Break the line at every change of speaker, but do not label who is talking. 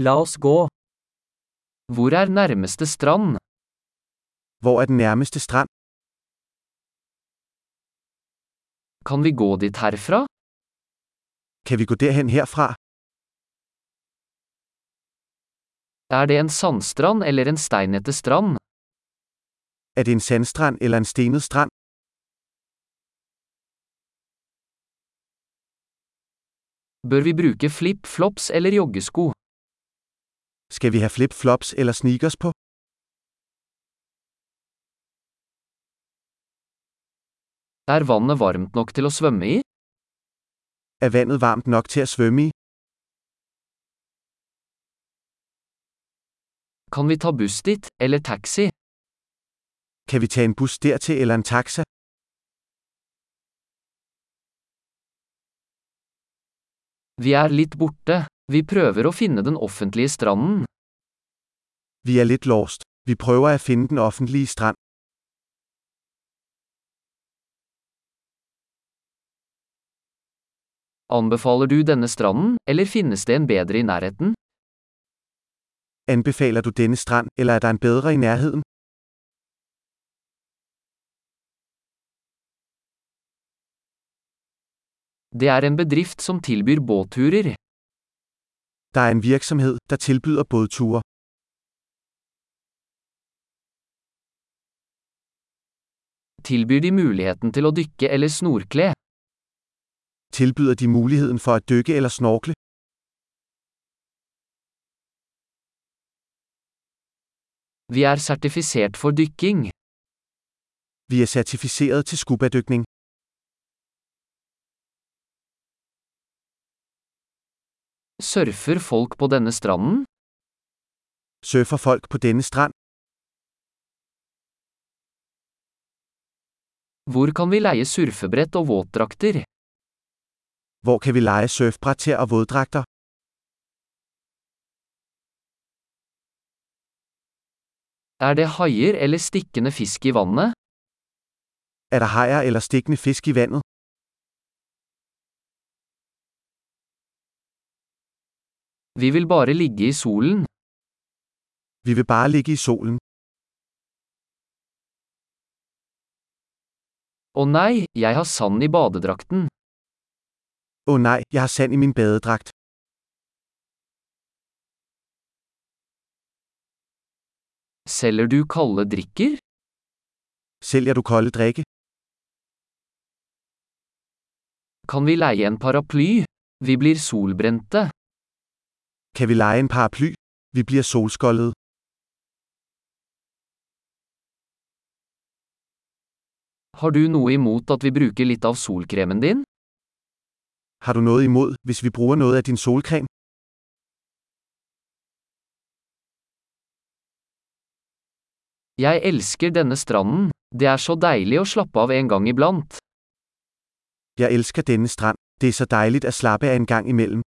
La oss gå. Hvor er nærmeste strand?
Hvor er den nærmeste strand?
Kan vi gå dit herfra?
Kan vi gå derhen herfra?
Er det en sandstrand eller en steinete strand?
Er det en sandstrand eller en stenet strand?
Bør vi bruke flip-flops eller joggesko?
Skal vi have flip-flops eller sneakers på?
Er vannet varmt nok til å svømme i?
Er vandet varmt nok til at svømme i?
Kan vi ta buss dit, eller taxi?
Kan vi tage en bus dertil eller en taxa?
Vi er litt borte. Vi prøver å finne den offentlige stranden.
Vi er lidt lost. Vi prøver at finde den offentlige strand.
Anbefaler du denne stranden, eller finnes det en bedre i nærheten?
Anbefaler du denne strand, eller er der en bedre i nærheden?
Det er en bedrift som tilbyr båtturer.
Der er en virksomhed, der tilbyder bådture.
Tilbyr de muligheten til å dykke eller snorkle?
Tilbyder de muligheden for at dykke eller snorkle?
Vi er sertifisert for dykking.
Vi er certificeret til skubadykning.
Surfer folk på denne stranden?
Surfer folk på denne strand?
Hvor kan vi leie surfebrett og våtdrakter?
Hvor kan vi lege surfbræt til og våddragter?
Er det haier eller stikkende fisk i vannet?
Er der hajer eller stikkende fisk i vandet?
Vi vil bare ligge i solen.
Vi vil bare ligge i solen.
Å nei, jeg har sand i badedrakten.
Åh oh nej, jeg har sand i min badedragt.
Selger du kalde drikker?
Sælger du kolde drikke?
Kan vi leie en paraply? Vi blir solbrente.
Kan vi lege en paraply? Vi bliver solskoldede.
Har du noe imot at vi bruker litt av solkremen din?
Har du noget imod, hvis vi bruger noget af din solcreme?
Jeg elsker denne stranden. Det er så deilig å slappe av en gang iblant.
Jeg elsker denne strand. Det er så dejligt at slappe af en gang imellem.